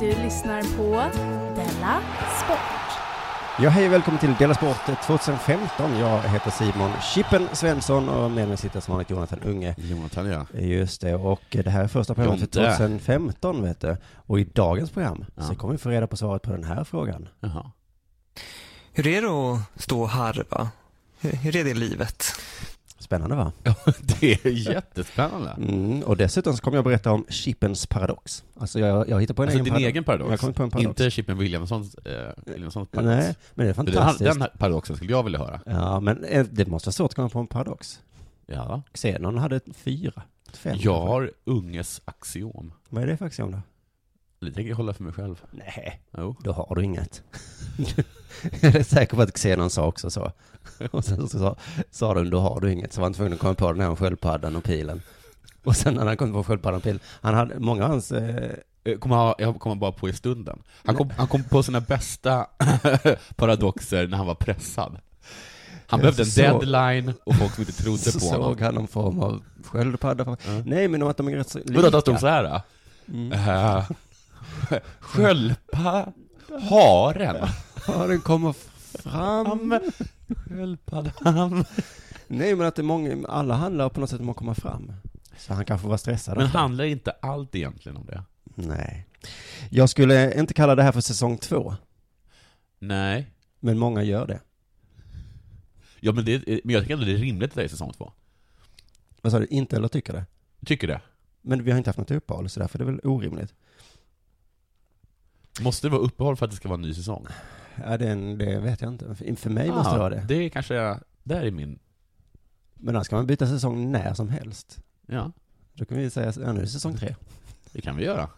Du lyssnar på Della Sport. Ja, hej och välkommen till Dela Sport 2015. Jag heter Simon Chippen Svensson och med mig sitter som vanligt Jonathan Unge. Jonathan ja. Just det, och det här är första programmet för Jonte. 2015 vet du. Och i dagens program Ja. så kommer vi få reda på svaret på den här frågan. Jaha. Hur är det att stå och harva? Hur- Hur är det livet? Spännande va? Det är jättespännande. Mm, och dessutom så kommer jag berätta om Chippens paradox. Alltså jag, jag hittar på en Alltså egen din paradox. egen paradox? Jag kommer på en paradox. Inte Chippen Williamsons, eh, Williamsons paradox? Nej, men det är För den, här- fantastiskt. den här paradoxen skulle jag vilja höra. Ja, men eh, det måste vara svårt att komma på en paradox. Ja. Xenon hade ett fyra, ett fem. Jag har unges axiom. Vad är det för axiom då? Det tänker jag hålla för mig själv. Nej. Jo. då har du inget. jag är säker på att Xenon sa också så. Och sen så sa, sa de, då har du inget. Så var han tvungen att komma på den här om sköldpaddan och pilen. Och sen när han kom på sköldpaddan och pilen, han hade, många av hans, eh, Eh, Kommer ha, jag kommer bara på i stunden. Han kom, han kom på sina bästa paradoxer när han var pressad. Jag Han behövde en så- deadline och folk som inte trodde så på honom. såg han någon form av sköldpadda. Nej men de att de är rätt så Vadå, att han stod lika. så här? då? Mm. Eh, Sköldpa... Haren. Ja, den kommer fram. Sköldpaddan. Nej men att det är många, alla handlar på något sätt om att komma fram. Så han kanske var stressad. Men av det. handlar inte allt egentligen om det? Nej. Jag skulle inte kalla det här för säsong två, Nej. men många gör det. Ja, men, det, men jag tycker ändå det är rimligt att det är säsong två. Vad sa du? Inte eller tycker det? Tycker det. Men vi har inte haft något uppehåll, så därför är det väl orimligt. Måste det vara uppehåll för att det ska vara en ny säsong? Ja, det, det vet jag inte. För- För mig måste det vara det. Det är kanske, där är min, Men annars kan man byta säsong när som helst. ja, Då kan vi säga, ja nu är det säsong tre. det kan vi göra.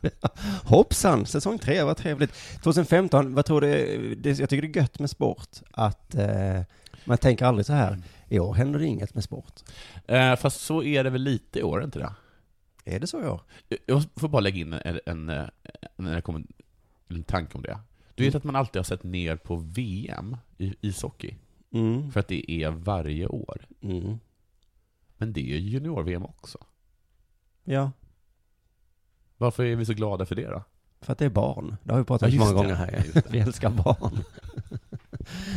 Hoppsan, säsong tre, vad trevligt. 2015, vad tror du, det, jag tycker det är gött med sport, att eh, man tänker aldrig så här, i år händer det inget med sport. Eh, fast så är det väl lite i år, inte det? Är det så i år? Jag- Jag får bara lägga in en, en, en, en, en, en tanke om det. Du vet att man alltid har sett ner på VM i ishockey, Mm. för att det är varje år. mm. Men det är ju junior-VM också. Ja, Varför är vi så glada för det då? för att det är barn. Det har vi pratat om Ja, just många det. gånger här. Ja, ja. just det. Vi älskar barn.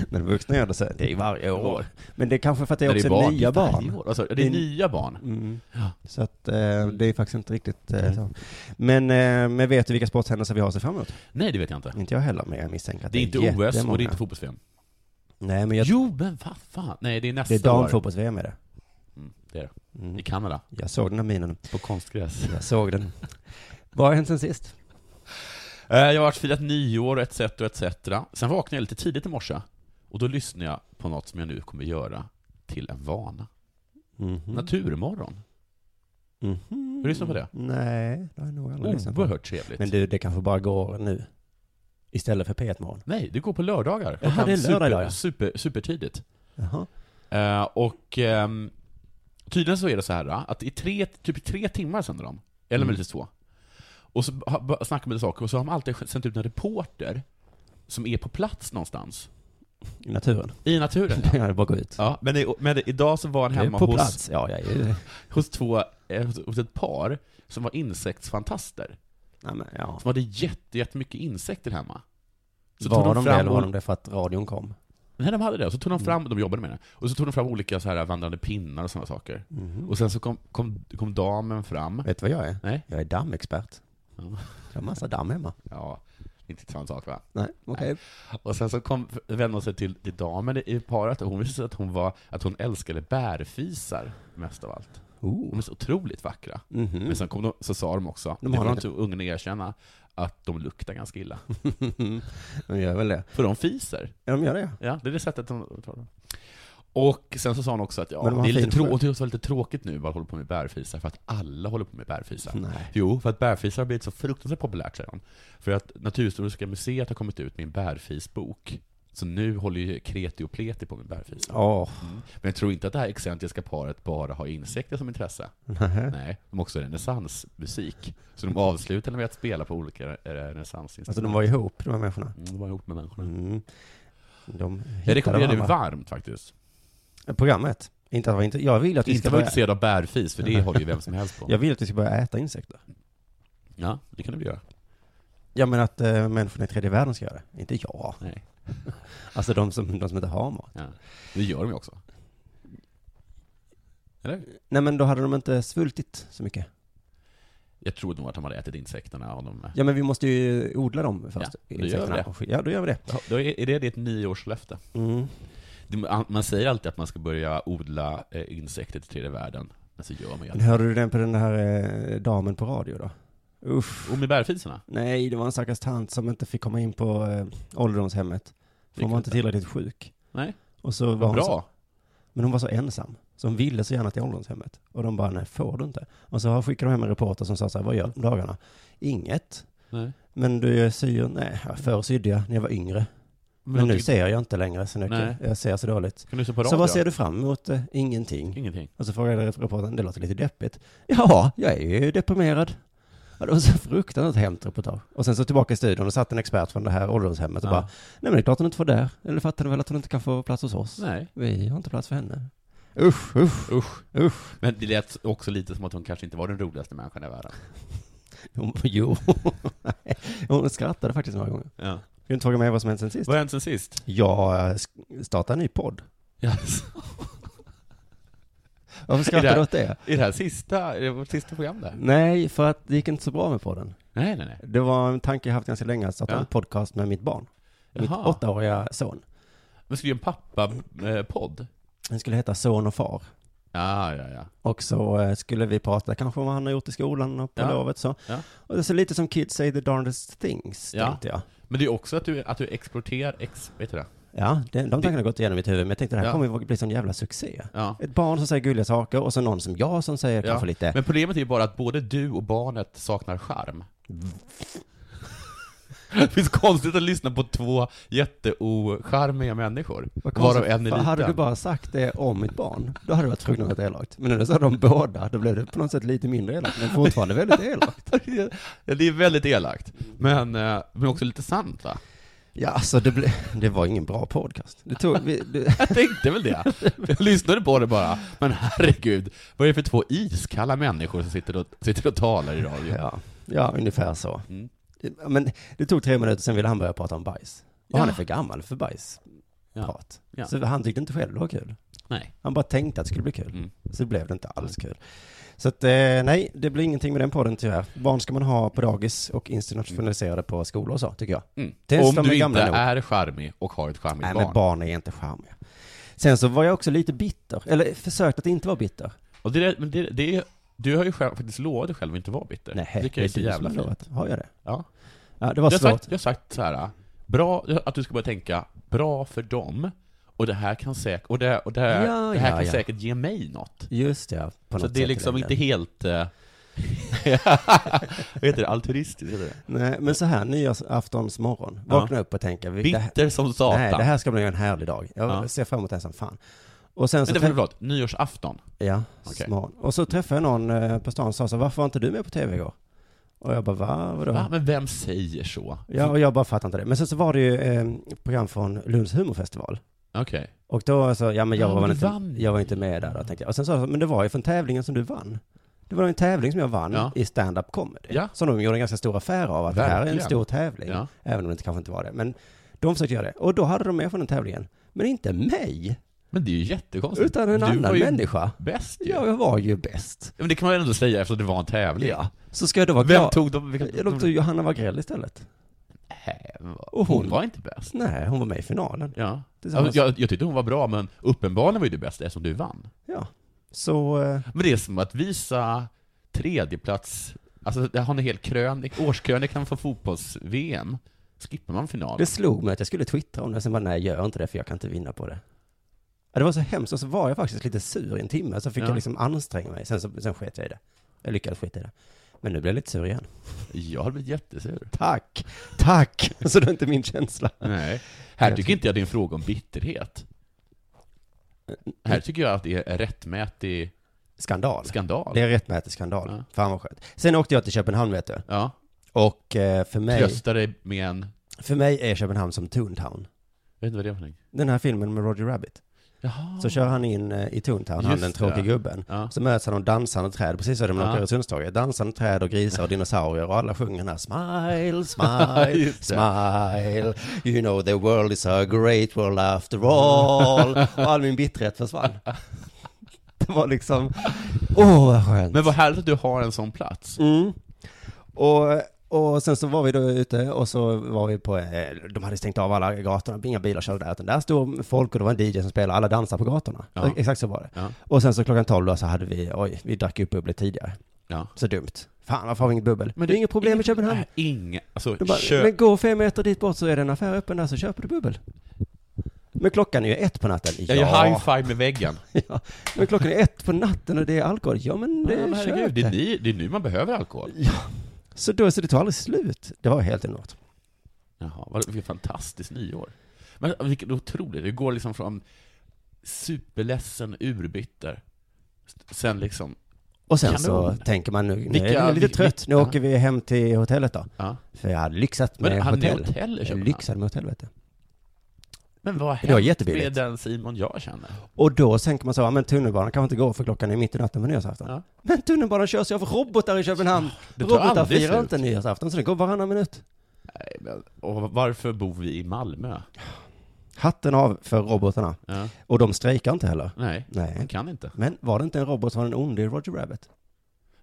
Men vuxna gör det så, här, det är varje år. Men det är kanske för att det är När också barn, nya det är varje barn. år. Alltså, det Det är är- nya barn. Mm. Ja. Mm. Så att eh, det är faktiskt inte riktigt eh, så. Men, eh, men vet du vilka sporthändelser vi har att se fram emot? Nej, det vet jag inte. Inte jag heller, men jag misstänker att Det är inte OS och det är inte fotbolls-VM. Nej, men jag, Jo, men vad fan? Nej, det är nästa det är år. damfotbolls-VM är det. Mm, det är det. Mm. I Kanada. Jag såg den här minen. På konstgräs. Jag såg den. Vad har hänt sen sist? Eh, Jag har varit firat nyår etc, etc. Sen vaknade jag lite tidigt i morse. Och då lyssnade jag på något som jag nu kommer göra till en vana. Mm-hmm. Naturmorgon. Har du lyssnat på det? Nej, det har jag nog aldrig lyssnat på. Oerhört trevligt. Men du, det kanske bara går nu. Istället för P1 Morgon. Nej, det går på lördagar. Jaha, Klockan det är lördag idag, ja. super, super, supertidigt. Jaha. Eh, och ehm, tydligen så är det så här eh, att i tre, typ tre timmar sänder de. Eller Mm. möjligtvis två. Och så ha- ba- snackar man lite saker, och så har de alltid sänt ut en reporter som är på plats någonstans. I naturen. I naturen. Ja, det bara gå ut. Ja, men, i, men idag så var han Du är hemma på hos, plats. Ja, jag är ju... hos, två, eh, hos, hos ett par som var insektsfantaster. Nej, men, ja. Som hade jätte, jättemycket insekter hemma. var de, det eller var och- de det för att radion kom? Nej, de hade det. Och så tog de fram, de jobbade med det, och så tog de fram olika så här vandrande pinnar och sådana saker. Mhm. Och sen så kom, kom, kom damen fram. Vet du vad jag är? Nej. Jag är dammexpert. Ja. Jag har massa damm hemma. Ja, inte samma sak va? Nej, okej. Och sen så kom, vände hon sig till, till damen i- i paret, och hon visade sig att hon, var, att hon älskade bärfisar mest av allt. Oh. De är så otroligt vackra. Mhm. Men sen kom de, så sa de också, De det har får något- inte ungen erkänna, att de luktar ganska illa. De gör väl det. För de fiser. Ja, de gör det. ja. Ja, det är det sättet de tar dem. Och sen så sa hon också att ja, Men de har det är lite, fin trå- sjö. hon tyckte det var lite tråkigt nu att hålla på med bärfisar, för att alla håller på med bärfisar. Nej. Jo, för att bärfisar har blivit så fruktansvärt populärt, säger hon. För att Naturhistoriska museet har kommit ut med en bärfisbok. Så nu håller ju Kreti och Pleti på med bärfisar. Åh, Men jag tror inte att det här excentriska paret bara har insekter som intresse. Nej, de har också renässansmusik. Så de avslutade med att spela på olika re- renässansinstrument. alltså de var ihop, de här människorna. Mm, de var ihop med människorna. Mm. De Jag rekommenderar det varandra. varmt faktiskt. Programmet. Inte att vara inte, jag vill att vi Inte ska vara börja, intresserad av bärfis, för det håller ju vem som helst jag på. vill att vi ska börja äta insekter. Ja, det kan du väl göra. Ja men att eh, människorna i tredje världen ska göra det. Inte jag. Nej. Alltså de som, de som inte har mat. Ja. Det gör de ju också. Eller? Nej men då hade de inte svultit så mycket. Jag tror nog att de hade ätit insekterna av dem. Ja men vi måste ju odla dem först. Ja, då gör vi insekterna. det. Och skit- Ja då gör vi det. Då är är det ditt nyårslöfte? Mm. Det- Man säger alltid att man ska börja odla eh, insekter till tredje världen, men så gör man ju Men inte. hörde du den på den här eh, damen på radio då? Uff. Och med bärfisarna? Nej, det var en stackars tant som inte fick komma in på eh, ålderdomshemmet. För hon Vilket- var inte tillräckligt sjuk. Nej. Och så var Vad hon Så, bra! men hon var så ensam. Så hon ville så gärna till ålderdomshemmet. Och de bara, nej får du inte. Och så skickade de hem en reporter som sa så här, vad gör du om dagarna? Inget. Nej. Men du jag syr, nej, ja, förr sydde jag när jag var yngre. Men, jag nu tycker- ser jag inte längre, så nu typ- Nej. jag ser så dåligt. Kan du se på radio? Så vad ser du fram emot? Eh, Ingenting. Ingenting. Och så frågade reportern, det låter lite deppigt. Ja, jag är ju deprimerad. Ja, det var så fruktansvärt hemskt reportage. Och sen så tillbaka i studion och satt en expert från det här ålderdomshemmet och Ja. bara, nej men det är klart hon inte får där. Eller fattar du väl att hon inte kan få plats hos oss? Nej. Vi har inte plats för henne. Usch, usch. Usch. Usch. Men det lät också lite som att hon kanske inte var den roligaste människan i världen. Hon, jo. hon skrattade faktiskt några gånger. Ja. Ska du inte fråga mig vad som hänt sen sist? Vad har hänt sen sist? Jag eh, sk- startar en ny podd. Yes. Varför skrattar Är du det- åt det? Är det här sista, är det vårt sista program där? Nej, för att det gick inte så bra med podden. Nej, nej, nej. Det var en tanke jag haft ganska länge, att starta Ja. en podcast med mitt barn. Mitt Jaha. åttaåriga son. Men skulle ju en pappa-podd? Den skulle heta Son och far. Ja, ja, ja. Och så eh, skulle vi prata kanske om vad han har gjort i skolan och på Ja. lovet så. Ja. Och det är så lite som Kids say the darndest things, Ja. tänkte jag. Men det är också att du, att du exporterar, ex, vet du det? Ja, det, de tankarna har gått igenom mitt huvud, men jag tänkte det här Ja. kommer ju bli sån jävla succé. Ja. Ett barn som säger gulliga saker och så någon som jag som säger kanske lite Men problemet är ju bara att både du och barnet saknar charm. Det finns konstigt att lyssna på två jätteocharmiga människor, varav en är För Hade du liten. bara sagt det om mitt barn, då hade det varit fruktansvärt elakt. Men när du sa de båda, då blev det på något sätt lite mindre elakt, men fortfarande väldigt elakt. Ja, Det är väldigt elakt, men, eh, men också lite sant va? Ja, alltså det, ble, det var ingen bra podcast. Det tog, vi, det, Jag tänkte väl det. Jag lyssnade på det bara, men herregud, vad är det för två iskalla människor som sitter och, sitter och talar i radio? Ja, ja ungefär så. Mm. Men det tog tre minuter, sen ville han börja prata om bajs. Och han är Ja. för gammal för bajsprat. Ja. Ja. Så han tyckte inte själv det var kul. Nej. Han bara tänkte att det skulle bli kul. Mm. Så blev det inte alls kul. Så att, eh, nej, det blir ingenting med den podden tyvärr. Barn ska man ha på dagis och institutionaliserade på skolor och så, tycker jag. Mm. Tills de Om är du inte gamla nog. är charmig och har ett charmigt Nej, men barn. barn är inte charmiga. Sen så var jag också lite bitter, eller försökte att inte vara bitter. Och det, där- men det, det är, du har ju själv, faktiskt lovat dig själv att inte vara bitter. Nej, det det kan är jag så du som jävla har fint. lovat. Har jag det? Ja. Ja, det var jag, har svårt. sagt, jag har sagt så här, bra, att du ska börja tänka, bra för dem, och det här kan säkert, och det, och det, här- Ja, det här ja, kan ja. säkert ge mig något. Just det, ja, på så något det är sätt liksom i längden. inte helt, eh, vad heter det, altruistiskt? heter det? Nej, men så här, nyårsaftons morgon. Vakna upp och tänka, vi, det, här, Bitter som satan. nej, det här alltså, ska bli en härlig dag. Jag Ja. ser fram emot den som fan. Och sen så, Vänta, träff- förlåt, nyårsafton. ja, Okej. smart. Och så träffade jag någon eh, på stan som sa så, varför var inte du med på tv igår? Och jag bara, va? Vadå? Va? Men vem säger så? Ja, och jag bara fattar inte det. Men sen så var det ju eh, program från Lunds humorfestival. Okej. Och då så, ja men jag, Ja, var, men väl inte, du vann. jag var inte med där då, tänkte jag. Och sen sa jag, så, men det var ju från tävlingen som du vann. Det var en tävling som jag vann Ja. i stand-up comedy. Ja. Som de gjorde en ganska stor affär av, att det här är en Verkligen. stor tävling. Ja. Även om det kanske inte var det. Men de försökte göra det. Och då hade de med från den tävlingen. Men inte mig, Men det är ju jättekonstigt. utan en du var annan ju människa. Bäst ju. Ja, jag var ju bäst. Men det kan man ju ändå säga eftersom det var en tävling. Ja. Så ska jag då vara Vem glad. tog de? Vilka, Jag låg till Johanna Wagrell istället. Nej, men Äh, vad- Och hon, hon- var inte bäst. Nej, hon var med i finalen. Ja. Tillsammans. Jag, jag tyckte hon var bra, men uppenbarligen var ju du bäst eftersom du vann. Ja. Så, eh, Men det är som att visa tredjeplats, alltså det har en hel krönik, årskrönikan för fotbolls-VM, skippar man det finalen. slog mig att jag skulle twittra om det, sen bara nej, gör inte det för jag kan inte vinna på det. Ja, det var så hemskt, och så var jag faktiskt lite sur i en timme, så fick Ja. jag liksom anstränga mig, sen, så, sen sket jag i det. Jag lyckades skita i det. Men nu blir jag lite sur igen. Jag hade blivit jättesur. Tack! Tack! så det är inte min känsla. Nej. Här Jag tycker inte jag det är en fråga om bitterhet. Eh, Här tycker jag att det är en rättmätig Skandal. skandal. Det är rättmätig skandal. Ja. Fan vad skönt. Sen åkte jag till Köpenhamn vet du. Ja, Och eh, för, mig, trösta dig med en, för mig är Köpenhamn som Toontown. jag vet inte vad det är för någonting. Den här filmen med Roger Rabbit. Jaha. Så kör han in eh, i Toontown, han Just den det. tråkiga gubben. Ja. Så möts han av dansande träd, precis som när man Ja. åker Öresundståget. Dansande träd och grisar och dinosaurier och alla sjunger den här smile, smile, Just det. smile. You know the world is a great world after all. Och all min bitterhet försvann. Det var liksom, åh vad skönt. Men vad härligt att du har en sån plats. Mm. Och, och sen så var vi då ute och så var vi på, eh, de hade stängt av alla gatorna, inga bilar körde där, utan där stod folk och det var en DJ som spelade, alla dansade på gatorna. Ja. Exakt så var det. Ja. Och sen så klockan tolv då så hade vi, oj, vi drack upp bubblet tidigare. Ja. Så dumt. Fan, varför har vi inget bubbel? Men det är inget problem med Köpenhamn. Äh, Inga, alltså De bara, köp. Men gå fem meter dit bort så är det en affär öppen där så köper du bubbel. Men klockan är ju ett på natten. Jag gör high five med väggen. ja. Men klockan är ett på natten och det är alkohol. Ja men det, Ja, men herregud, köp det, är ni, det är nu man behöver alkohol. Så då, så det tar aldrig slut. Det var helt enormt. Jaha, vad- vilket fantastiskt nyår. Men vilket otroligt, det går liksom från superledsen, urbitter, sen liksom, Och sen Kanon. så tänker man nu, nu är Vilka- jag lite vil- trött, nu vil- åker vi hem till hotellet då. ja. För jag hade lyxat Men med hade ni hotell. hotell i Jag Köpenhamn? lyxade med hotell vet du. Men vad Det var har hänt jättebilligt. med den Simon jag känner? Och då tänker man så, ja men tunnelbanan kanske inte går för klockan är mitt i natten på nyårsafton. Ja. Men tunnelbanan körs ju av robotar i Köpenhamn. det tar robotar aldrig firar slut. inte nyårsafton så det går varannan minut. Nej, men, och varför bor vi i Malmö? Hatten av för robotarna. Ja. Och de strejkar inte heller. Nej, man Nej. kan inte. Men var det inte en robot som var den onde i Roger Rabbit?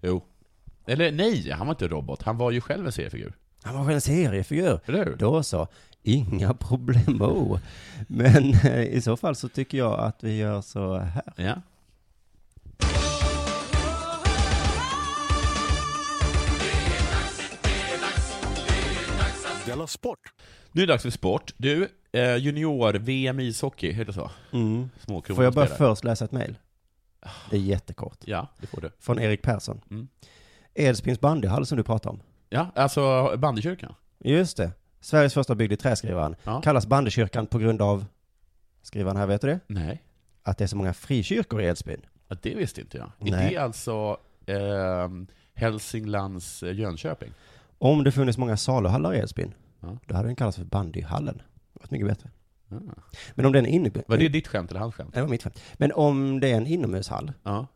Jo. Eller nej, han var inte robot, han var ju själv en seriefigur. Han var själv en seriefigur. Eller hur? Då så, inga problem. oh. Men eh, i så fall så tycker jag att vi gör så här. Ja. Della Sport! Nu är det dags för sport. Du, eh, junior-VM i ishockey, heter det så? Mm. Småkronor Får jag bara spelar. först läsa ett mejl? Det är jättekort. Ah. Ja, det får du. Från Erik Persson. Mm. Edsbyns bandyhall som du pratade om. Ja, alltså bandykyrkan. Just det. Sveriges första byggd i trä, skriver han. Ja. Kallas bandykyrkan på grund av, skriver han här, vet du det? Nej. Att det är så många frikyrkor i Edsbyn. Ja, det visste inte jag. Nej. Är det alltså ehm, Hälsinglands eh, Jönköping? Om det funnits många saluhallar i Edsbyn, Ja. då hade den kallats för bandyhallen. Det varit mycket bättre. Ah. Men om den är inne... Var det ditt skämt eller hans skämt? Det var mitt skämt. Men om det är en inomhushall Ja.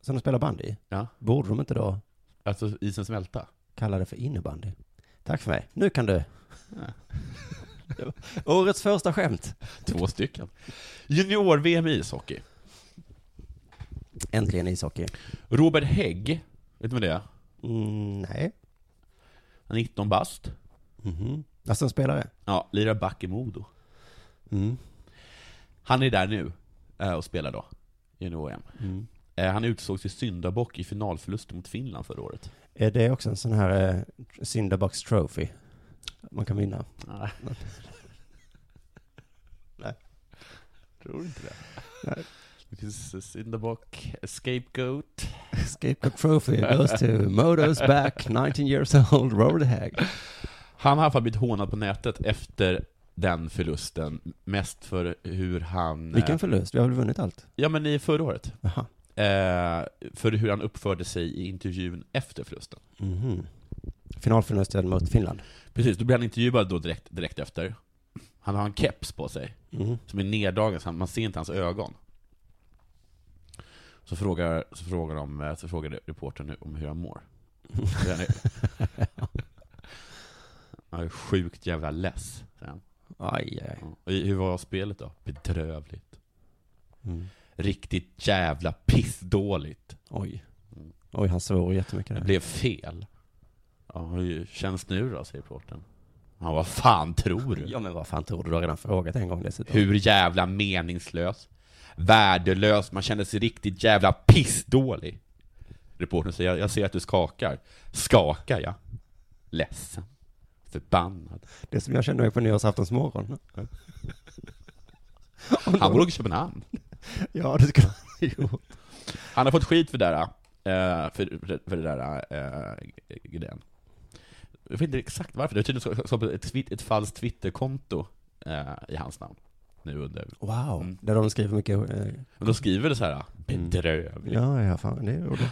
som de spelar bandy i, Ja. borde de inte då Alltså isen smälta? kalla det för innebandy? Tack för mig. Nu kan du. Ja. Årets första skämt. Två stycken. Junior-VM i ishockey. Äntligen ishockey. Robert Hägg, vet du vad det är? Mm, nej. Han är 19 bast. Mhm. Alltså en spelare? Ja, lirar back i Modo. Mm. Han är där nu eh, och spelar då, junior-VM. mm. Eh, Han utsågs till syndabock i finalförlusten mot Finland förra året. Är Eh, det också en sån här eh, Syndabox Trophy? Man kan vinna. Nej. Nej. Tror inte det. Det finns syndabock, scapegoat. Scapegoat Trophy goes to Modos back, 19 years old, Robert Hag. Han har i alla fall blivit hånad på nätet efter den förlusten, mest för hur han... Vilken eh, förlust, vi har väl vunnit allt? Ja men i förra året. Jaha. Eh, för hur han uppförde sig i intervjun efter förlusten. Mhm. Finalförlusten mot Finland. Precis, då blir han intervjuad då direkt, direkt efter. Han har en keps på sig, Mm. som är neddragen, så han- man ser inte hans ögon. Så frågar, så frågar, de, eh, så frågar reportern om hur han mår. Den är, han är sjukt jävla less. säger han. Aj, aj. Ja. Och Hur var spelet då? Bedrövligt. Mm. Riktigt jävla pissdåligt. Oj. Oj, han svor jättemycket Det där. blev fel. Ja, hur känns nu då? säger reportern. Han vad fan tror du? Ja, men vad fan tror du? Du har redan frågat en gång dessutom. Hur jävla meningslös, värdelös, man känner sig riktigt jävla pissdålig. Reportern säger, jag ser att du skakar. Skakar jag? Ledsen. Förbannad. Det som jag kände mig på nyårsaftonsmorgon. Han bor i Köpenhamn. Ja, det skulle han ha gjort. Han har fått skit för det där, eh, för, för det där eh, grejen. Jag vet inte exakt varför, det har tydligen skapat ett, twi- ett falskt Twitterkonto eh, i hans namn. Nu under. Wow. Mm. Där de skriver mycket... Eh, Men då skriver det så här, "Ah, bedrövligt. Mm. ja, ja, fan, det är roligt.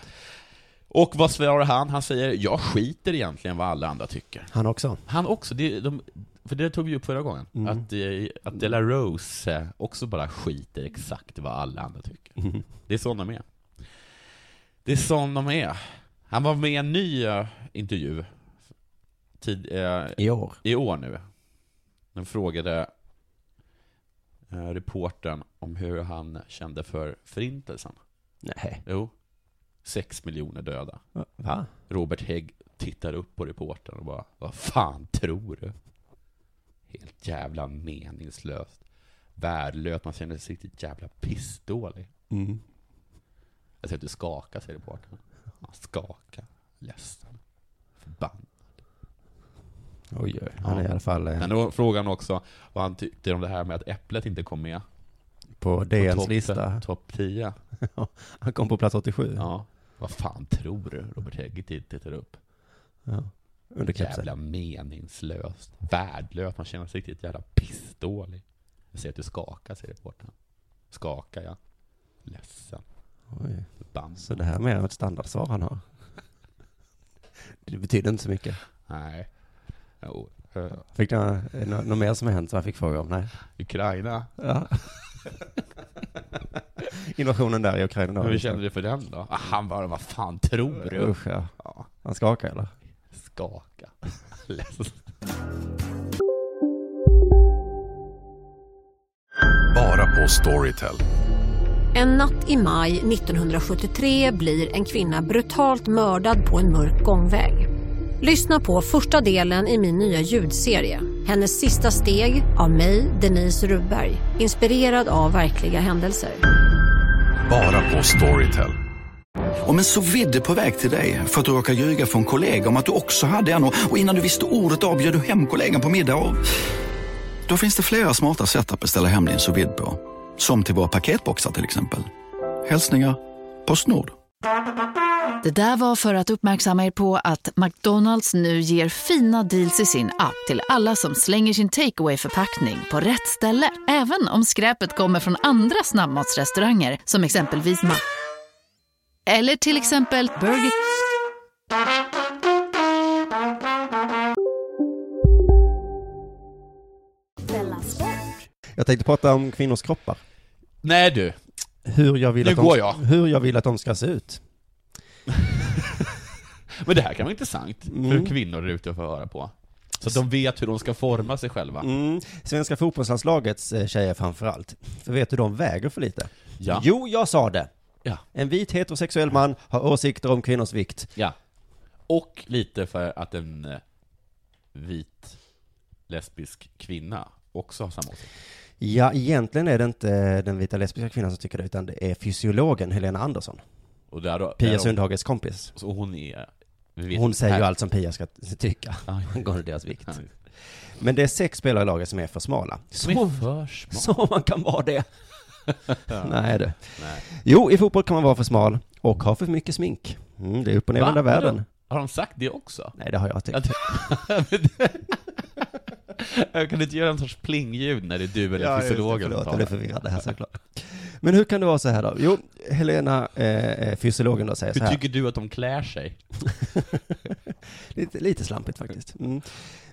Och vad svarar han? Han säger, jag skiter egentligen vad alla andra tycker. Han också. Han också, det, de, för det tog vi upp förra gången, Mm. att, eh, att De La Rose eh, också bara skiter exakt vad alla andra tycker. Mm. Det är sån de är. Det är sån de är. Han var med i en ny eh, intervju tid, eh, I år. i år nu. Den frågade eh, reportern om hur han kände för förintelsen. Nej. Jo, sex miljoner döda. Va? Robert Hägg tittar upp på reportern och bara Vad fan tror du? Helt jävla meningslöst. Värdelöst, man känner sig riktigt jävla pissdålig. Mm. Jag ser att du skakar, säger reportern. Han skakar, ledsen, förbannad. Oj, oj. Han är i alla fall eh, Men då frågar han också vad han tyckte om det här med att Äpplet inte kom med. på På DNs topp- lista. Topp 10. Han kom på plats 87. Ja. Vad fan tror du? Robert Hägg titt- tittar upp. Ja. Under kapseln. Jävla meningslöst, värdelöst, man känner sig riktigt jävla pissdålig. Jag ser att du skakar, säger reportern. Skakar jag? Ledsen. Oj. Förbannad. Så det här är mer ett standardsvar han har. Det betyder inte så mycket. Nej. Jo. Eh, Fick du eh, nå- något mer som har hänt som han fick fråga om? Nej. Ukraina. Ja. Invasionen där i Ukraina då. Men hur känner du för den då? Ah, han bara, vad fan tror du? Usch ja. Ja, Han skakar eller? skaka. Ledsen. Bara på Storytel. En natt i maj 1973 blir en kvinna brutalt mördad på en mörk gångväg. Lyssna på första delen i min nya ljudserie. Hennes sista steg av mig, Denise Rubberg. Inspirerad av verkliga händelser. Bara på Storytel. Om en så vidde på väg till dig för att du råkar ljuga från kollega om att du också hade en och och innan du visste ordet av bjöd du hem kollegan på middag och... Då finns det flera smarta sätt att beställa hem din sous vide på. Som till våra paketboxar till exempel. Hälsningar Postnord. Det där var för att uppmärksamma er på att McDonalds nu ger fina deals i sin app till alla som slänger sin takeaway förpackning på rätt ställe. Även om skräpet kommer från andra snabbmatsrestauranger som exempelvis Ma... Eller till exempel Burger... Della Sport. Jag tänkte prata om kvinnors kroppar. Nej du, Hur jag vill, Nu att de, går jag. Hur jag vill att de ska se ut. men det här kan vara intressant Mm. för kvinnor där ute att få höra på. Så att de vet hur de ska forma sig själva. Mm. Svenska fotbollslandslagets eh, tjejer framförallt. För vet du, de väger för lite. Ja. Jo, jag sa det. Ja. En vit heterosexuell man har åsikter om kvinnors vikt. Ja. Och lite för att en eh, vit lesbisk kvinna också har samma åsikt. Ja, egentligen är det inte eh, den vita lesbiska kvinnan som tycker det, utan det är fysiologen Helena Andersson. Och där då, Pia där Sundhages kompis. Så hon är... vi vet- Hon säger ju här- Ah, allt som Pia ska tycka Ja, angående deras vikt. ja. Men det är sex spelare i laget som är för smala. Som är Så, för smart. så man kan vara det. Nej du. Jo, i fotboll kan man vara för smal och ha för mycket smink. Mm, det är upp och ner i Va? hela världen. Har de sagt det också? Nej, det har jag tyckt. Att- Jag kan du inte göra en sorts plingljud när det är du eller fysiologen som Förlåt, talar? jag är förvirrad här såklart. Men hur kan det vara så här då? Jo, Helena, eh, eh, fysiologen då, säger så Hur här. tycker du att de klär sig? Lite, lite slampigt faktiskt. Mm.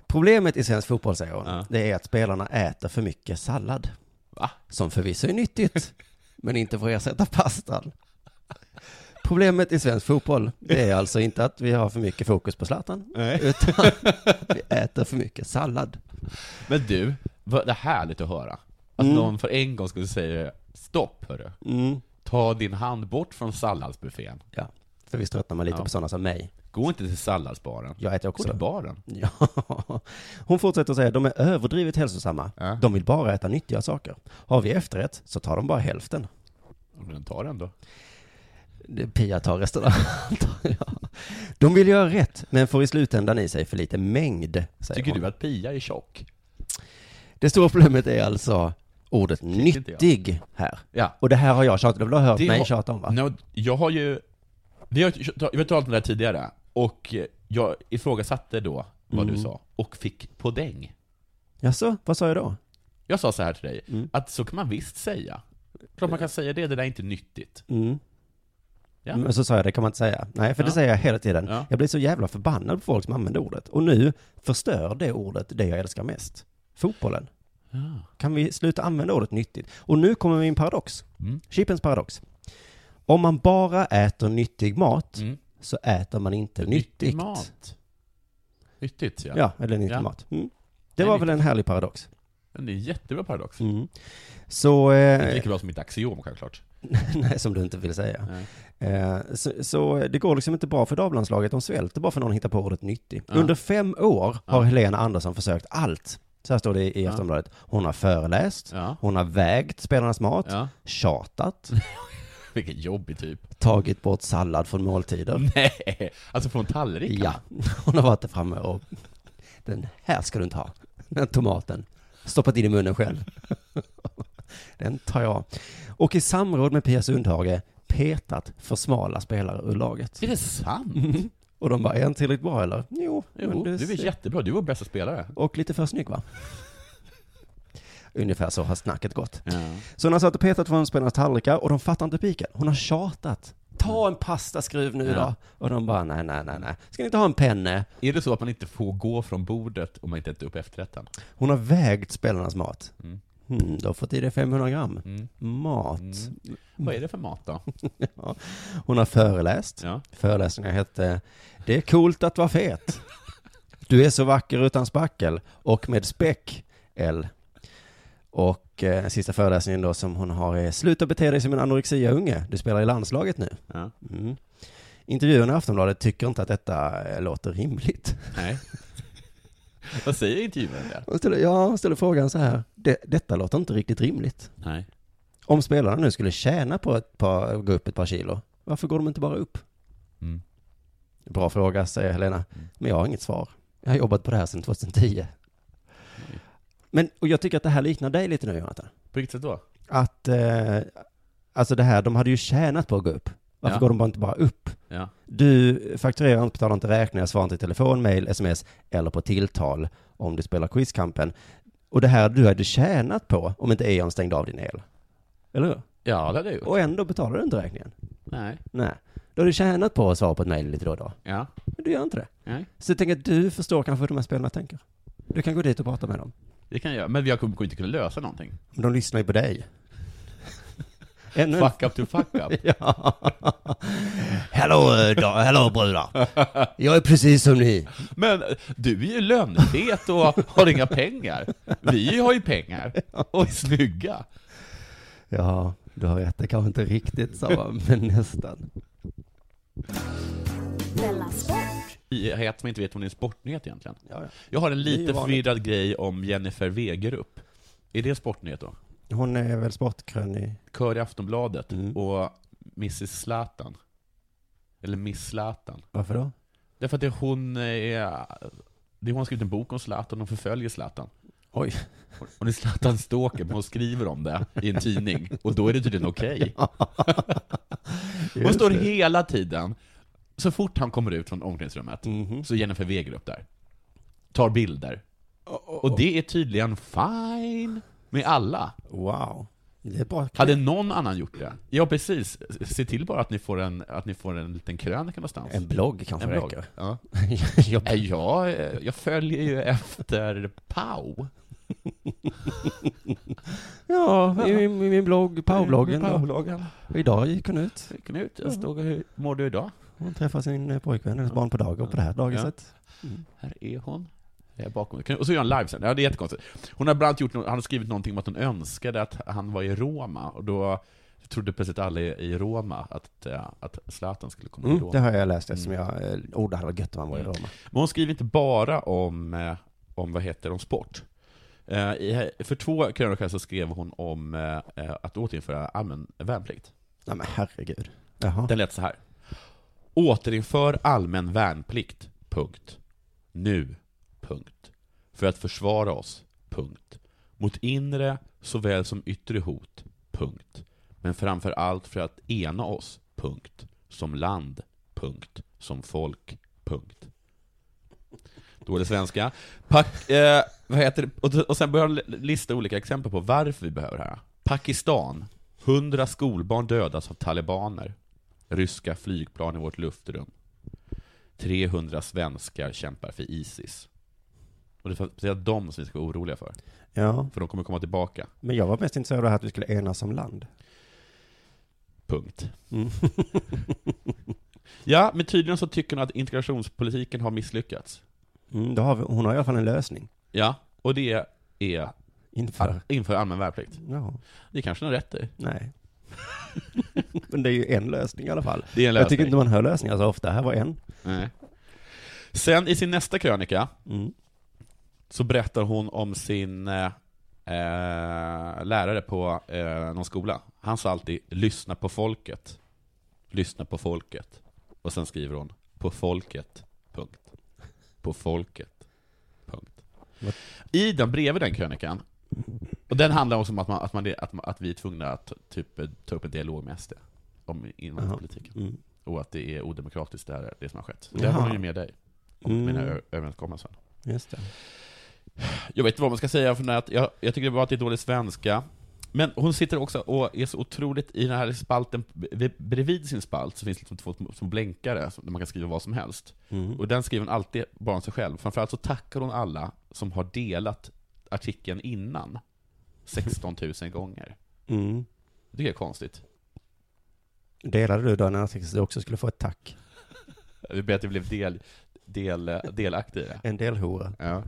Problemet i svensk fotboll, säger hon, Ja. det är att spelarna äter för mycket sallad. Va? Som förvisso är nyttigt, men inte får ersätta pastan. Problemet i svensk fotboll, det är alltså inte att vi har för mycket fokus på Zlatan, Nej. utan vi äter för mycket sallad. Men du, vad det är härligt att höra. Att Mm. någon för en gång skulle säga stopp hörru. Ta din hand bort från salladsbuffén. Ja, för visst tröttnar man lite på sådana som mig. Gå inte till salladsbaren. Jag äter också. Gå till baren. Ja. Hon fortsätter att säga de är överdrivet hälsosamma. De vill bara äta nyttiga saker. Har vi efterrätt så tar de bara hälften. Men ta den då. Det- Pia tar resten av ja. De vill göra rätt, men får i slutändan i sig för lite mängd, säger Tycker hon. du att Pia är tjock? Det stora problemet är alltså ordet inte jag. nyttig här. Ja. Och det här har jag tjatat, du har hört Det mig har- tjata om va? No, jag har ju, vi har, ju- vi har talat om det här tidigare, och jag ifrågasatte då vad Mm. du sa, och fick podäng. Jaså, vad sa jag då? Jag sa så här till dig, att så kan man visst säga. Klart man kan säga det, det där är inte nyttigt. Mm. Ja. Men så sa jag, det kan man inte säga. Nej, för det Ja. säger jag hela tiden. Ja. Jag blir så jävla förbannad på folk som använder ordet. Och nu förstör det ordet det jag älskar mest. Fotbollen. Ja. Kan vi sluta använda ordet nyttigt? Och nu kommer min paradox. Mm. Chippens paradox. Om man bara äter nyttig mat Mm. så äter man inte Nyttig nyttigt. mat. Nyttigt, ja. Ja, eller nyttig Ja. mat. Mm. Det Nej, var väl en härlig paradox. Men Det är en jättebra paradox. Mm. Så... Det är Eh, lika bra som mitt axiom självklart. Nej, som du inte vill säga. Eh, så, så det går liksom inte bra för damlandslaget, de svälter bara för någon hittar på ordet nyttig. Ja. Under fem år har Helena Andersson försökt allt. Så här står det i Ja. Aftonbladet. Hon har föreläst, Ja. hon har vägt spelarnas mat, Ja. tjatat, Vilken jobbig typ. tagit bort sallad från måltider. Nej, alltså från tallriken. Ja, hon har varit där framme och den här ska du inte ha. Den tomaten. Stoppat in i munnen själv. Den tar jag. Och i samråd med Pia Sundhage petat för smala spelare ur laget. Är det sant? Mhm. Och de bara, är han tillräckligt bra eller? Jo, Jo, det Mm, du är ser- jättebra, du är vår bästa spelare. Och lite för snygg va? Ungefär så har snacket gått. Ja. Så hon har satt och petat från spelarnas tallrikar och de fattar inte piken. Hon har tjatat. Ta en pastaskruv nu Mm. Ja. då. Och de bara, nej, nej, nej, nej. Ska ni inte ha en penne? Är det så att man inte får gå från bordet om man inte äter upp efterrätten? Hon har vägt spelarnas mat. Mm. Hmm, då har fått i det 500 gram. Mm. Mat. Vad är det för mat då? Ja. Hon har föreläst. Ja. Föreläsningen hette Det är coolt att vara fet. Du är så vacker utan spackel och med späck, L. Och eh, sista föreläsningen då som hon har är Sluta bete dig som en anorexia-unge. Du spelar i landslaget nu. Ja. Mm. Intervjuerna i Aftonbladet tycker inte att detta eh, låter rimligt. Nej. Vad säger intervjuaren där? Hon ställer, ja, hon ställer frågan så här. Det, detta låter inte riktigt rimligt. Nej. Om spelarna nu skulle tjäna på att par, gå upp ett par kilo, varför går de inte bara upp? Mm. Bra fråga, säger Helena. Men jag har inget svar. Jag har jobbat på det här sedan 2010. Men, och jag tycker att det här liknar dig lite nu, Jonathan. På vilket sätt då? Att, eh, alltså det här, de hade ju tjänat på att gå upp. Varför Ja. går de bara inte bara upp? Ja. Du fakturerar inte, betalar inte räkningar, svarar inte i telefon, mail, sms eller på tilltal om du spelar quizkampen. Och det här du hade tjänat på om inte Eon stängde av din el. Eller hur? Ja, det hade jag gjort. Typ. Och ändå betalar du inte räkningen. Nej. Nej. Du har du tjänat på att svara på ett mejl lite då och då. Ja. Men du gör inte det. Nej. Så jag tänker att du förstår kanske hur de här spelarna tänker. Du kan gå dit och prata med dem. Det kan jag göra. Men jag kommer kommer inte kunna lösa någonting. Men de lyssnar ju på dig. Ännu en- Fuck up to fuck up. Ja. Hello, eh, da- hello brudar. Jag är precis som ni. Men du är ju lönnfet och har inga pengar. Vi har ju pengar och är snygga. Ja, du har rätt. Det kanske inte riktigt samma, men nästan. Della Sport. Nyhet som jag inte vet om det är en sportnyhet egentligen. Ja, ja. Jag har en Det är ju lite vanligt. förvirrad grej om Jennifer Wegerup. Är det en sportnyhet då? Hon är väl sportkrönig. Kör i Aftonbladet Mm. och Mrs Zlatan. Eller Miss Zlatan. Varför då? Därför att det är hon är... Det är hon som har skrivit en bok om Zlatan, hon förföljer Zlatan. Oj. Hon är Zlatan stalker men hon skriver om det i en tidning. Och då är det tydligen okej. Hon Just står det. hela tiden, så fort han kommer ut från omklädningsrummet, så är Jennifer Wegerup där. Tar bilder. Och det är tydligen fine med alla. Wow. Det är bra. Hade någon annan gjort det? Ja, precis. Se till bara att ni får en, att ni får en liten krönika någonstans. En blogg kanske En blogg. räcker. Ja. jag, Nej, Jag, eh, jag följer ju efter Pau. ja, i min, min blogg, Powerbloggen. I Powerbloggen. Och idag gick hon ut. Gick hon ut? Jag stod och hur mår du idag? Hon träffar sin eh, pojkvän, hennes barn på dagis, på det här dagiset. Här är hon. Där bakom. Och så gör han live sen. Ja, det är jättekonstigt. Hon har bland annat gjort, no- han har skrivit någonting om att hon önskade att han var i Roma, och då trodde plötsligt alla i i Roma att, eh, att Zlatan skulle komma Mm, till Roma. det har jag läst eftersom jag, eh, oh det hade varit gött om man var i Mm. Roma. Men hon skriver inte bara om, eh, om vad heter det, om sport. Eh, i- För två krönikor så skrev hon om eh, eh, att återinföra allmän värnplikt. Nej men herregud. Jaha. Den lät så här. Återinför allmän värnplikt. Punkt. Nu. Punkt. För att försvara oss. Punkt. Mot inre såväl som yttre hot. Punkt. Men framför allt för att ena oss. Punkt. Som land. Punkt. Som folk. Punkt. Dålig svenska. Pak, eh, vad heter det? Och, och sen börjar han lista olika exempel på varför vi behöver det här. Pakistan. 100 skolbarn dödas av talibaner. Ryska flygplan i vårt luftrum. 300 svenskar kämpar för Isis. Och det är för att- det är de som vi ska vara oroliga för. Ja. För de kommer komma tillbaka. Men jag var mest intresserad av det här att vi skulle enas som land. Punkt. Mm. Ja, men tydligen så tycker hon att integrationspolitiken har misslyckats. Mm, då har vi, hon har i alla fall en lösning. Ja, och det är Inför. inför allmän värnplikt. Ja. Det kanske hon har rätt i. Nej. Men det är ju en lösning i alla fall. Det är en Jag tycker lösning. inte man hör lösningar så ofta. Här var en. Nej. Sen i sin nästa krönika Mm. så berättar hon om sin eh, eh, lärare på eh, någon skola. Han sa alltid ”lyssna på folket”. Lyssna på folket. Och sen skriver hon ”på folket”. Punkt. På folket. Punkt. I den, bredvid den krönikan, och den handlar också om att, man, att, man, att, man, att vi är tvungna att typ, eh, ta upp en dialog med SD om invandringspolitiken. Mm. Och att det är odemokratiskt det, här, det som har skett. Och där Jaha. har hon ju med dig, om Mm. mina ö- överenskommelser. Just det. Jag vet inte vad man ska säga, för att jag, jag tycker det var att det är dålig svenska. Men hon sitter också och är så otroligt, i den här spalten, b- bredvid sin spalt, så finns det liksom två små- små blänkare, som- där man kan skriva vad som helst. Mm. Och den skriver hon alltid bara om sig själv. Framförallt så tackar hon alla som har delat artikeln innan, 16 000 gånger. Mm. Det tycker jag är konstigt. Delade du då en artikel så du också skulle få ett tack? Vi ber att du blev del, del, delaktig i det. En del hora. Ja.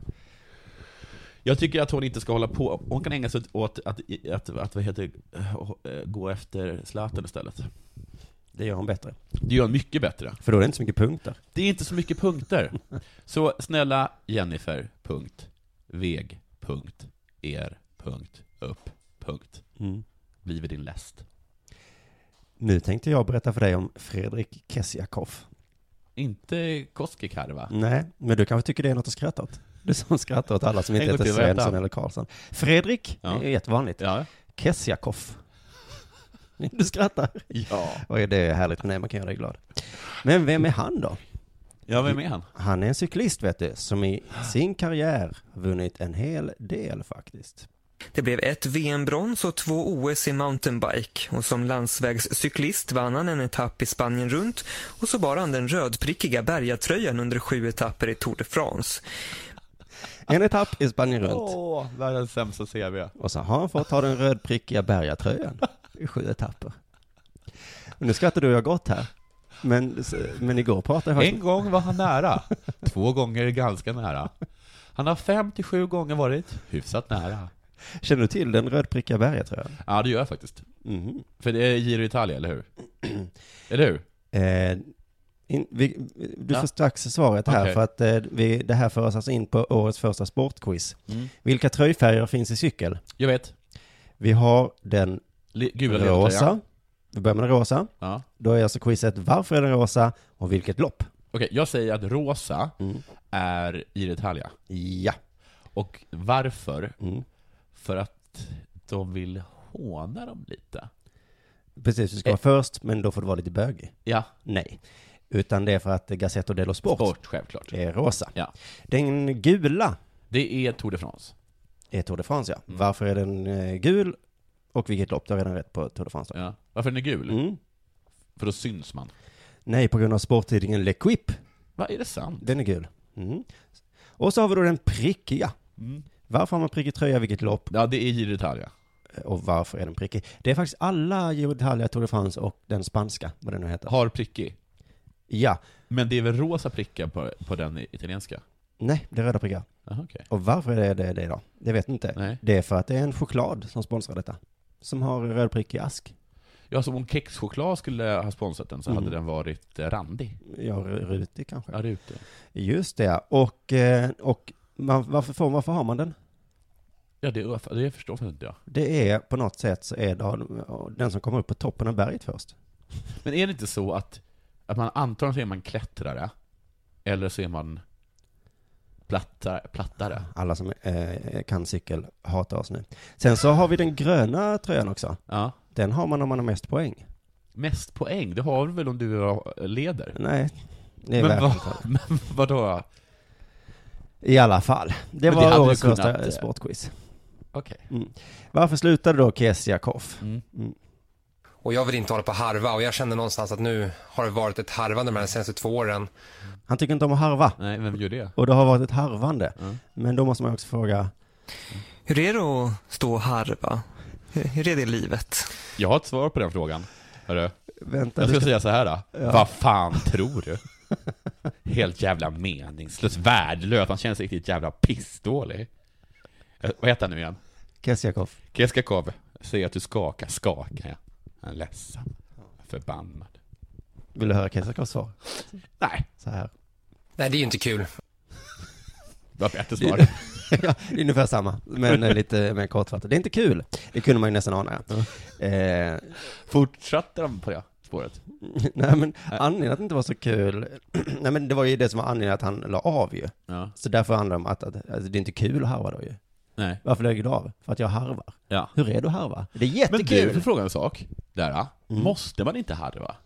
Jag tycker att hon inte ska hålla på, hon kan ägna sig åt att, att, att, att vad heter, det, eh, gå efter Zlatan istället. Det gör hon bättre. Det gör hon mycket bättre. För då är det inte så mycket punkter. Det är inte så mycket punkter. Så snälla Jennifer, punkt, veg, punkt, er, punkt, upp, punkt. Mm. Livet din läst. Nu tänkte jag berätta för dig om Fredrik Kessiakoff. Inte Koskikarva. Nej, men du kanske tycker det är något att skratta åt? Du som skrattar åt alla som inte En gång heter till, vad heter Svensson han? eller Karlsson. Fredrik, Ja. det är jättevanligt. Ja. Kessiakoff. Du skrattar. Ja. Och det är härligt med det, man kan göra dig glad. Men vem är han då? Ja, vem är han? Han är en cyklist vet du, som i sin karriär vunnit en hel del faktiskt. Det blev ett VM-brons och två OS i mountainbike och som landsvägscyklist vann han en etapp i Spanien runt och så bar han den rödprickiga bergatröjan under sju etapper i Tour de France. En etapp i Spanien runt. Åh, världens sämsta CV. Och så har han fått ha den rödprickiga bergatröjan i sju etapper. Och nu skrattar du och jag gott här. Men, men igår pratade jag En faktiskt... gång var han nära. Två gånger ganska nära. Han har fem till sju gånger varit hyfsat nära. Känner du till den rödprickiga bergatröjan? Ja, det gör jag faktiskt. Mhm. För det är Giro Italia, eller hur? eller hur? Eh, in, vi, du Ja. får strax svaret här Okej. för att eh, vi, det här för oss alltså in på årets första sportquiz. Mm. Vilka tröjfärger finns i cykel? Jag vet. Vi har den Li- Gula ledtröjan. rosa. Vi börjar med den rosa. Ja. Då är alltså quizet varför är den rosa och vilket lopp? Okej, jag säger att rosa Mm. är Giro Italia. Ja. Och varför? Mm. För att de vill håna dem lite. Precis, Eh. du ska vara först men då får du vara lite bögig. Ja, Nej. Utan det är för att Gazzetto dello Sport sport självklart. är rosa. Ja. Den gula Det är Tour de France. är Tour de France ja. Varför är den eh, gul och vilket lopp? Du har redan rätt på Tour de France då. Ja. Varför den är gul? Mm. För då syns man. Nej, på grund av sporttidningen L'Equipe. Vad är det sant? Den är gul. Mm. Och så har vi då den prickiga. Varför har man prickig tröja, vilket lopp? Ja, det är Giro d'Italia. Och varför är den prickig? Det är faktiskt alla Giro d'Italia, Tour de France och den spanska, vad den nu heter. Har prickig? Ja. Men det är väl rosa prickar på, på den italienska? Nej, det är röda prickar. Aha, okay. Och varför är det det, det då? Det vet jag inte. Nej. Det är för att det är en choklad som sponsrar detta. Som har röd prick i ask. Ja, som om kexchoklad skulle ha sponsrat den så Mm. hade den varit eh, randig. Ja, ru- rutig kanske. Ja, rutig. Just det, ja. och, eh, och man, varför, får, varför har man den? Ja, det, det förstår jag inte jag. Det är på något sätt så är det den som kommer upp på toppen av berget först. Men är det inte så att, att man antagligen så är man klättrare, eller så är man plattare? plattare. Alla som eh, kan cykel hatar oss nu. Sen så har vi den gröna tröjan också. Ja. Den har man om man har mest poäng. Mest poäng, det har du väl om du leder? Nej, det är men, värt vad, att men vadå? I alla fall. Det Men det var hade du årets kunnat, första eh, sportquiz. Okej. Mm. Varför slutade då Kesiakoff? Mm. Och jag vill inte hålla på och harva och jag känner någonstans att nu har det varit ett harvande de här senaste två åren. Han tycker inte om att harva. Nej, vem gör det? Och det har varit ett harvande. Mm. Men då måste man också fråga, Hur är det att stå och harva? Hur- Hur är det i livet? Jag har ett svar på den frågan. Hörru. Vänta, jag du ska, ska- säga så här då. Ja. Vad fan tror du? Helt jävla meningslös, värdelös, han känns riktigt jävla pissdålig. Eh, Vad heter han nu igen? Kesiakoff, Keskakov, säger att du skakar, skakar jag. Han är ledsen. Förbannad. vill du höra Kesiakoffs svar? Nej. Så här. Nej, det är ju inte kul. Det var bättre svar. ja, det är ungefär samma, men eh, lite mer kortfattat. Det är inte kul. Det kunde man ju nästan ana. Eh, Fortsatte de på det spåret? Nej men anledningen att det inte var så kul, nej men det var ju det som var anledningen att han la av ju. Ja. Så därför handlar det om att, att alltså, det är inte kul att harva då ju. Nej. Varför lägger du av? För att jag harvar. Ja. Hur är du att harva? Det är Men du, jättekul! får jag fråga en sak? Där, ja. Måste man inte harva?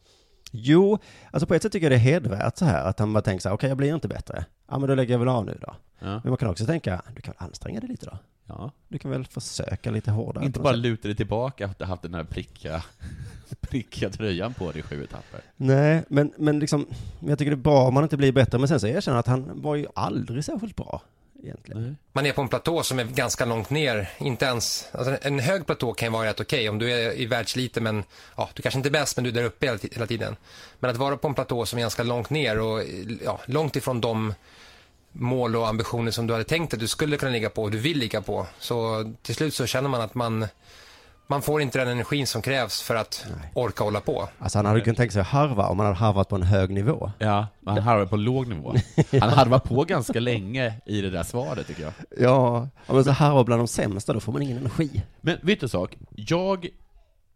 Jo, alltså på ett sätt tycker jag det är hedervärt så här, att han bara tänker så här, okej jag blir inte bättre. Ja men då lägger jag väl av nu då. Ja. Men man kan också tänka, du kan väl anstränga dig lite då? Ja. Du kan väl försöka lite hårdare. inte på bara något sätt. luta dig tillbaka efter att ha haft den här prickiga, prickiga tröjan på dig i sju etapper. Nej, men, men liksom, men jag tycker det är bra om man inte blir bättre, men sen så erkänner jag att han var ju aldrig särskilt bra egentligen. Man är på en platå som är ganska långt ner. Inte ens, alltså en hög platå kan ju vara rätt okej om du är i världslite men ja, du kanske inte är bäst men du är där uppe hela, ti- hela tiden. Men att vara på en platå som är ganska långt ner och ja, långt ifrån de mål och ambitioner som du hade tänkt att du skulle kunna ligga på och du vill ligga på. Så till slut så känner man att man, man får inte den energin som krävs för att orka hålla på. Alltså han hade kunnat tänka sig att harva om han hade harvat på en hög nivå. Ja, men han harvar på låg nivå. Han harvar på ganska länge i det där svaret tycker jag. Ja, ja, men så harva bland de sämsta, då får man ingen energi. Men vet du en sak? Jag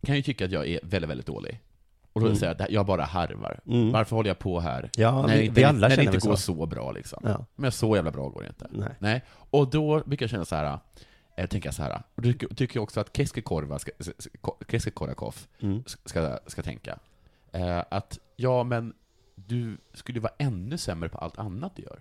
kan ju tycka att jag är väldigt, väldigt dålig. Och då vill jag Mm. säga att det här- jag bara harvar. Mm. Varför håller jag på här? Ja, när vi- det vi inte, alla när det känner inte väl går så. så bra liksom. Ja. Men så jävla bra går det inte. Nej. Och då brukar jag känna så här, jag tänker så här, och då tycker- tycker jag också att Keskekorva ska, Keskekorvakov Mm. ska, ska tänka. Eh, att, ja men, du skulle ju vara ännu sämre på allt annat du gör.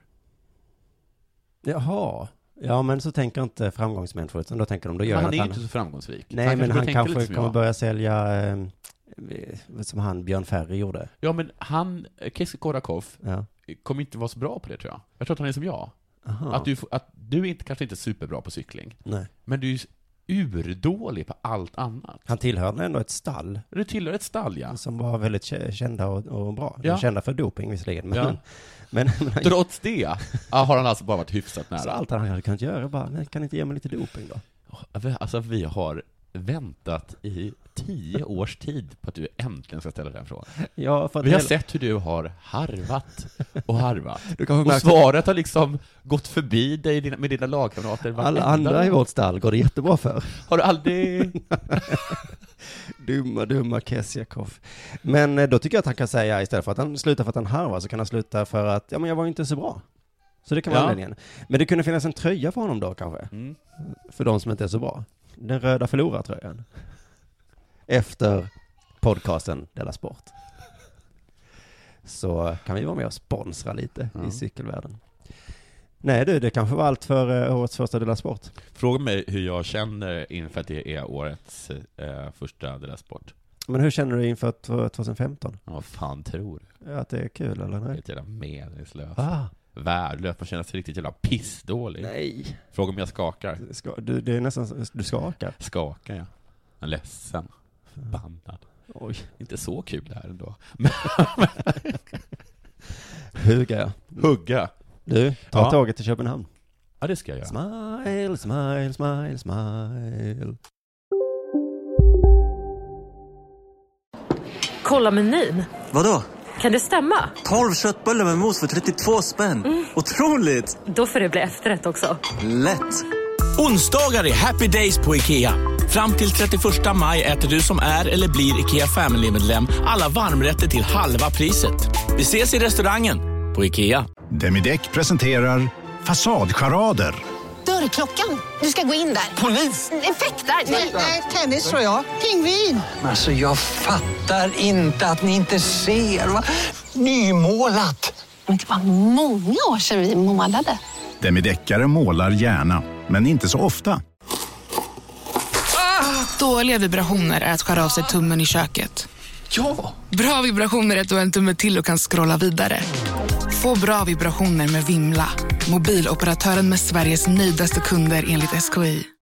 Jaha. Ja, men så tänker inte framgångsmänniskor, utan då tänker de, då gör Men jag han något är ju annat. inte så framgångsrik. Nej, Han men kanske han tänker liksom, kanske lite som kommer jag. börja sälja, eh, som han Björn Ferry gjorde. Ja men han, Kessie Korakov, Ja. kommer inte vara så bra på det tror jag. Jag tror att han är som jag. Aha. Att du, får- att du är inte, kanske inte är superbra på cykling, Nej. men du är urdålig på allt annat. Han tillhörde ändå ett stall Du tillhör ett stall ja. som var väldigt kä- kända och, och bra. Ja. Kända för doping visserligen, men... Ja. men, men han, Trots det ah, har han alltså bara varit hyfsat så nära. allt han hade kunnat göra bara, nej, kan ni inte ge mig lite doping då? Alltså vi har väntat i tio års tid på att du äntligen ska ställa den frågan. Ja, för att Vi har hela- sett hur du har harvat och harvat. Du kanske Och märker- svaret har liksom gått förbi dig dina- med dina lagkamrater. Alla varenda andra i gång. vårt stall går det jättebra för. Har du aldrig... dumma, dumma Kessiakoff. Men eh, då tycker jag att han kan säga istället för att han slutar för att han harvar så kan han sluta för att, ja men jag var ju inte så bra. Så det kan vara Ja. anledningen. Men det kunde finnas en tröja för honom då kanske? Mm. För de som inte är så bra. Den röda förlorartröjan. Efter podcasten Della Sport. Så kan vi vara med och sponsra lite i cykelvärlden. Nej du, det kanske var allt för eh, årets första Della Sport. Fråga mig hur jag känner inför att det är årets eh, första Della Sport. Men hur känner du inför t- 2015? Ja, Vad fan tror du? Att det är kul eller nej? Helt jävla meningslöst. Ah, värdelös, man känner sig riktigt jävla pissdålig. Nej. Fråga om jag skakar. Ska, du, det är nästan så- du skakar. Skakar jag. Jag är ledsen. Förbannad. Oj. Inte så kul det här ändå. Hugga ja. Hugga. Du, ta Ja. tåget till Köpenhamn. Ja, det ska jag göra. Smile, smile, smile, smile. Kolla menyn. Vadå? Kan det stämma? 12 köttbullar med mos för 32 spänn. Otroligt! Mm. Då får det bli efterrätt också. Lätt! Onsdagar är happy days på IKEA. Fram till 31 maj äter du som är eller blir IKEA Family-medlem alla varmrätter till halva priset. Vi ses i restaurangen på IKEA. Demideck presenterar Fasadcharader. Dörrklockan. Du ska gå in där. Polis? Effektar? Nej, nej, tennis tror jag. Pingvin. Alltså jag fattar inte att ni inte ser. Va? Nymålat! Men det var många år sedan vi målade. Demideckare målar gärna, men inte så ofta. Dåliga vibrationer är att skära av sig tummen i köket. Ja! Bra vibrationer är att du har en tumme till och kan scrolla vidare. Få bra vibrationer med Vimla. Mobiloperatören med Sveriges nöjdaste kunder enligt SKI.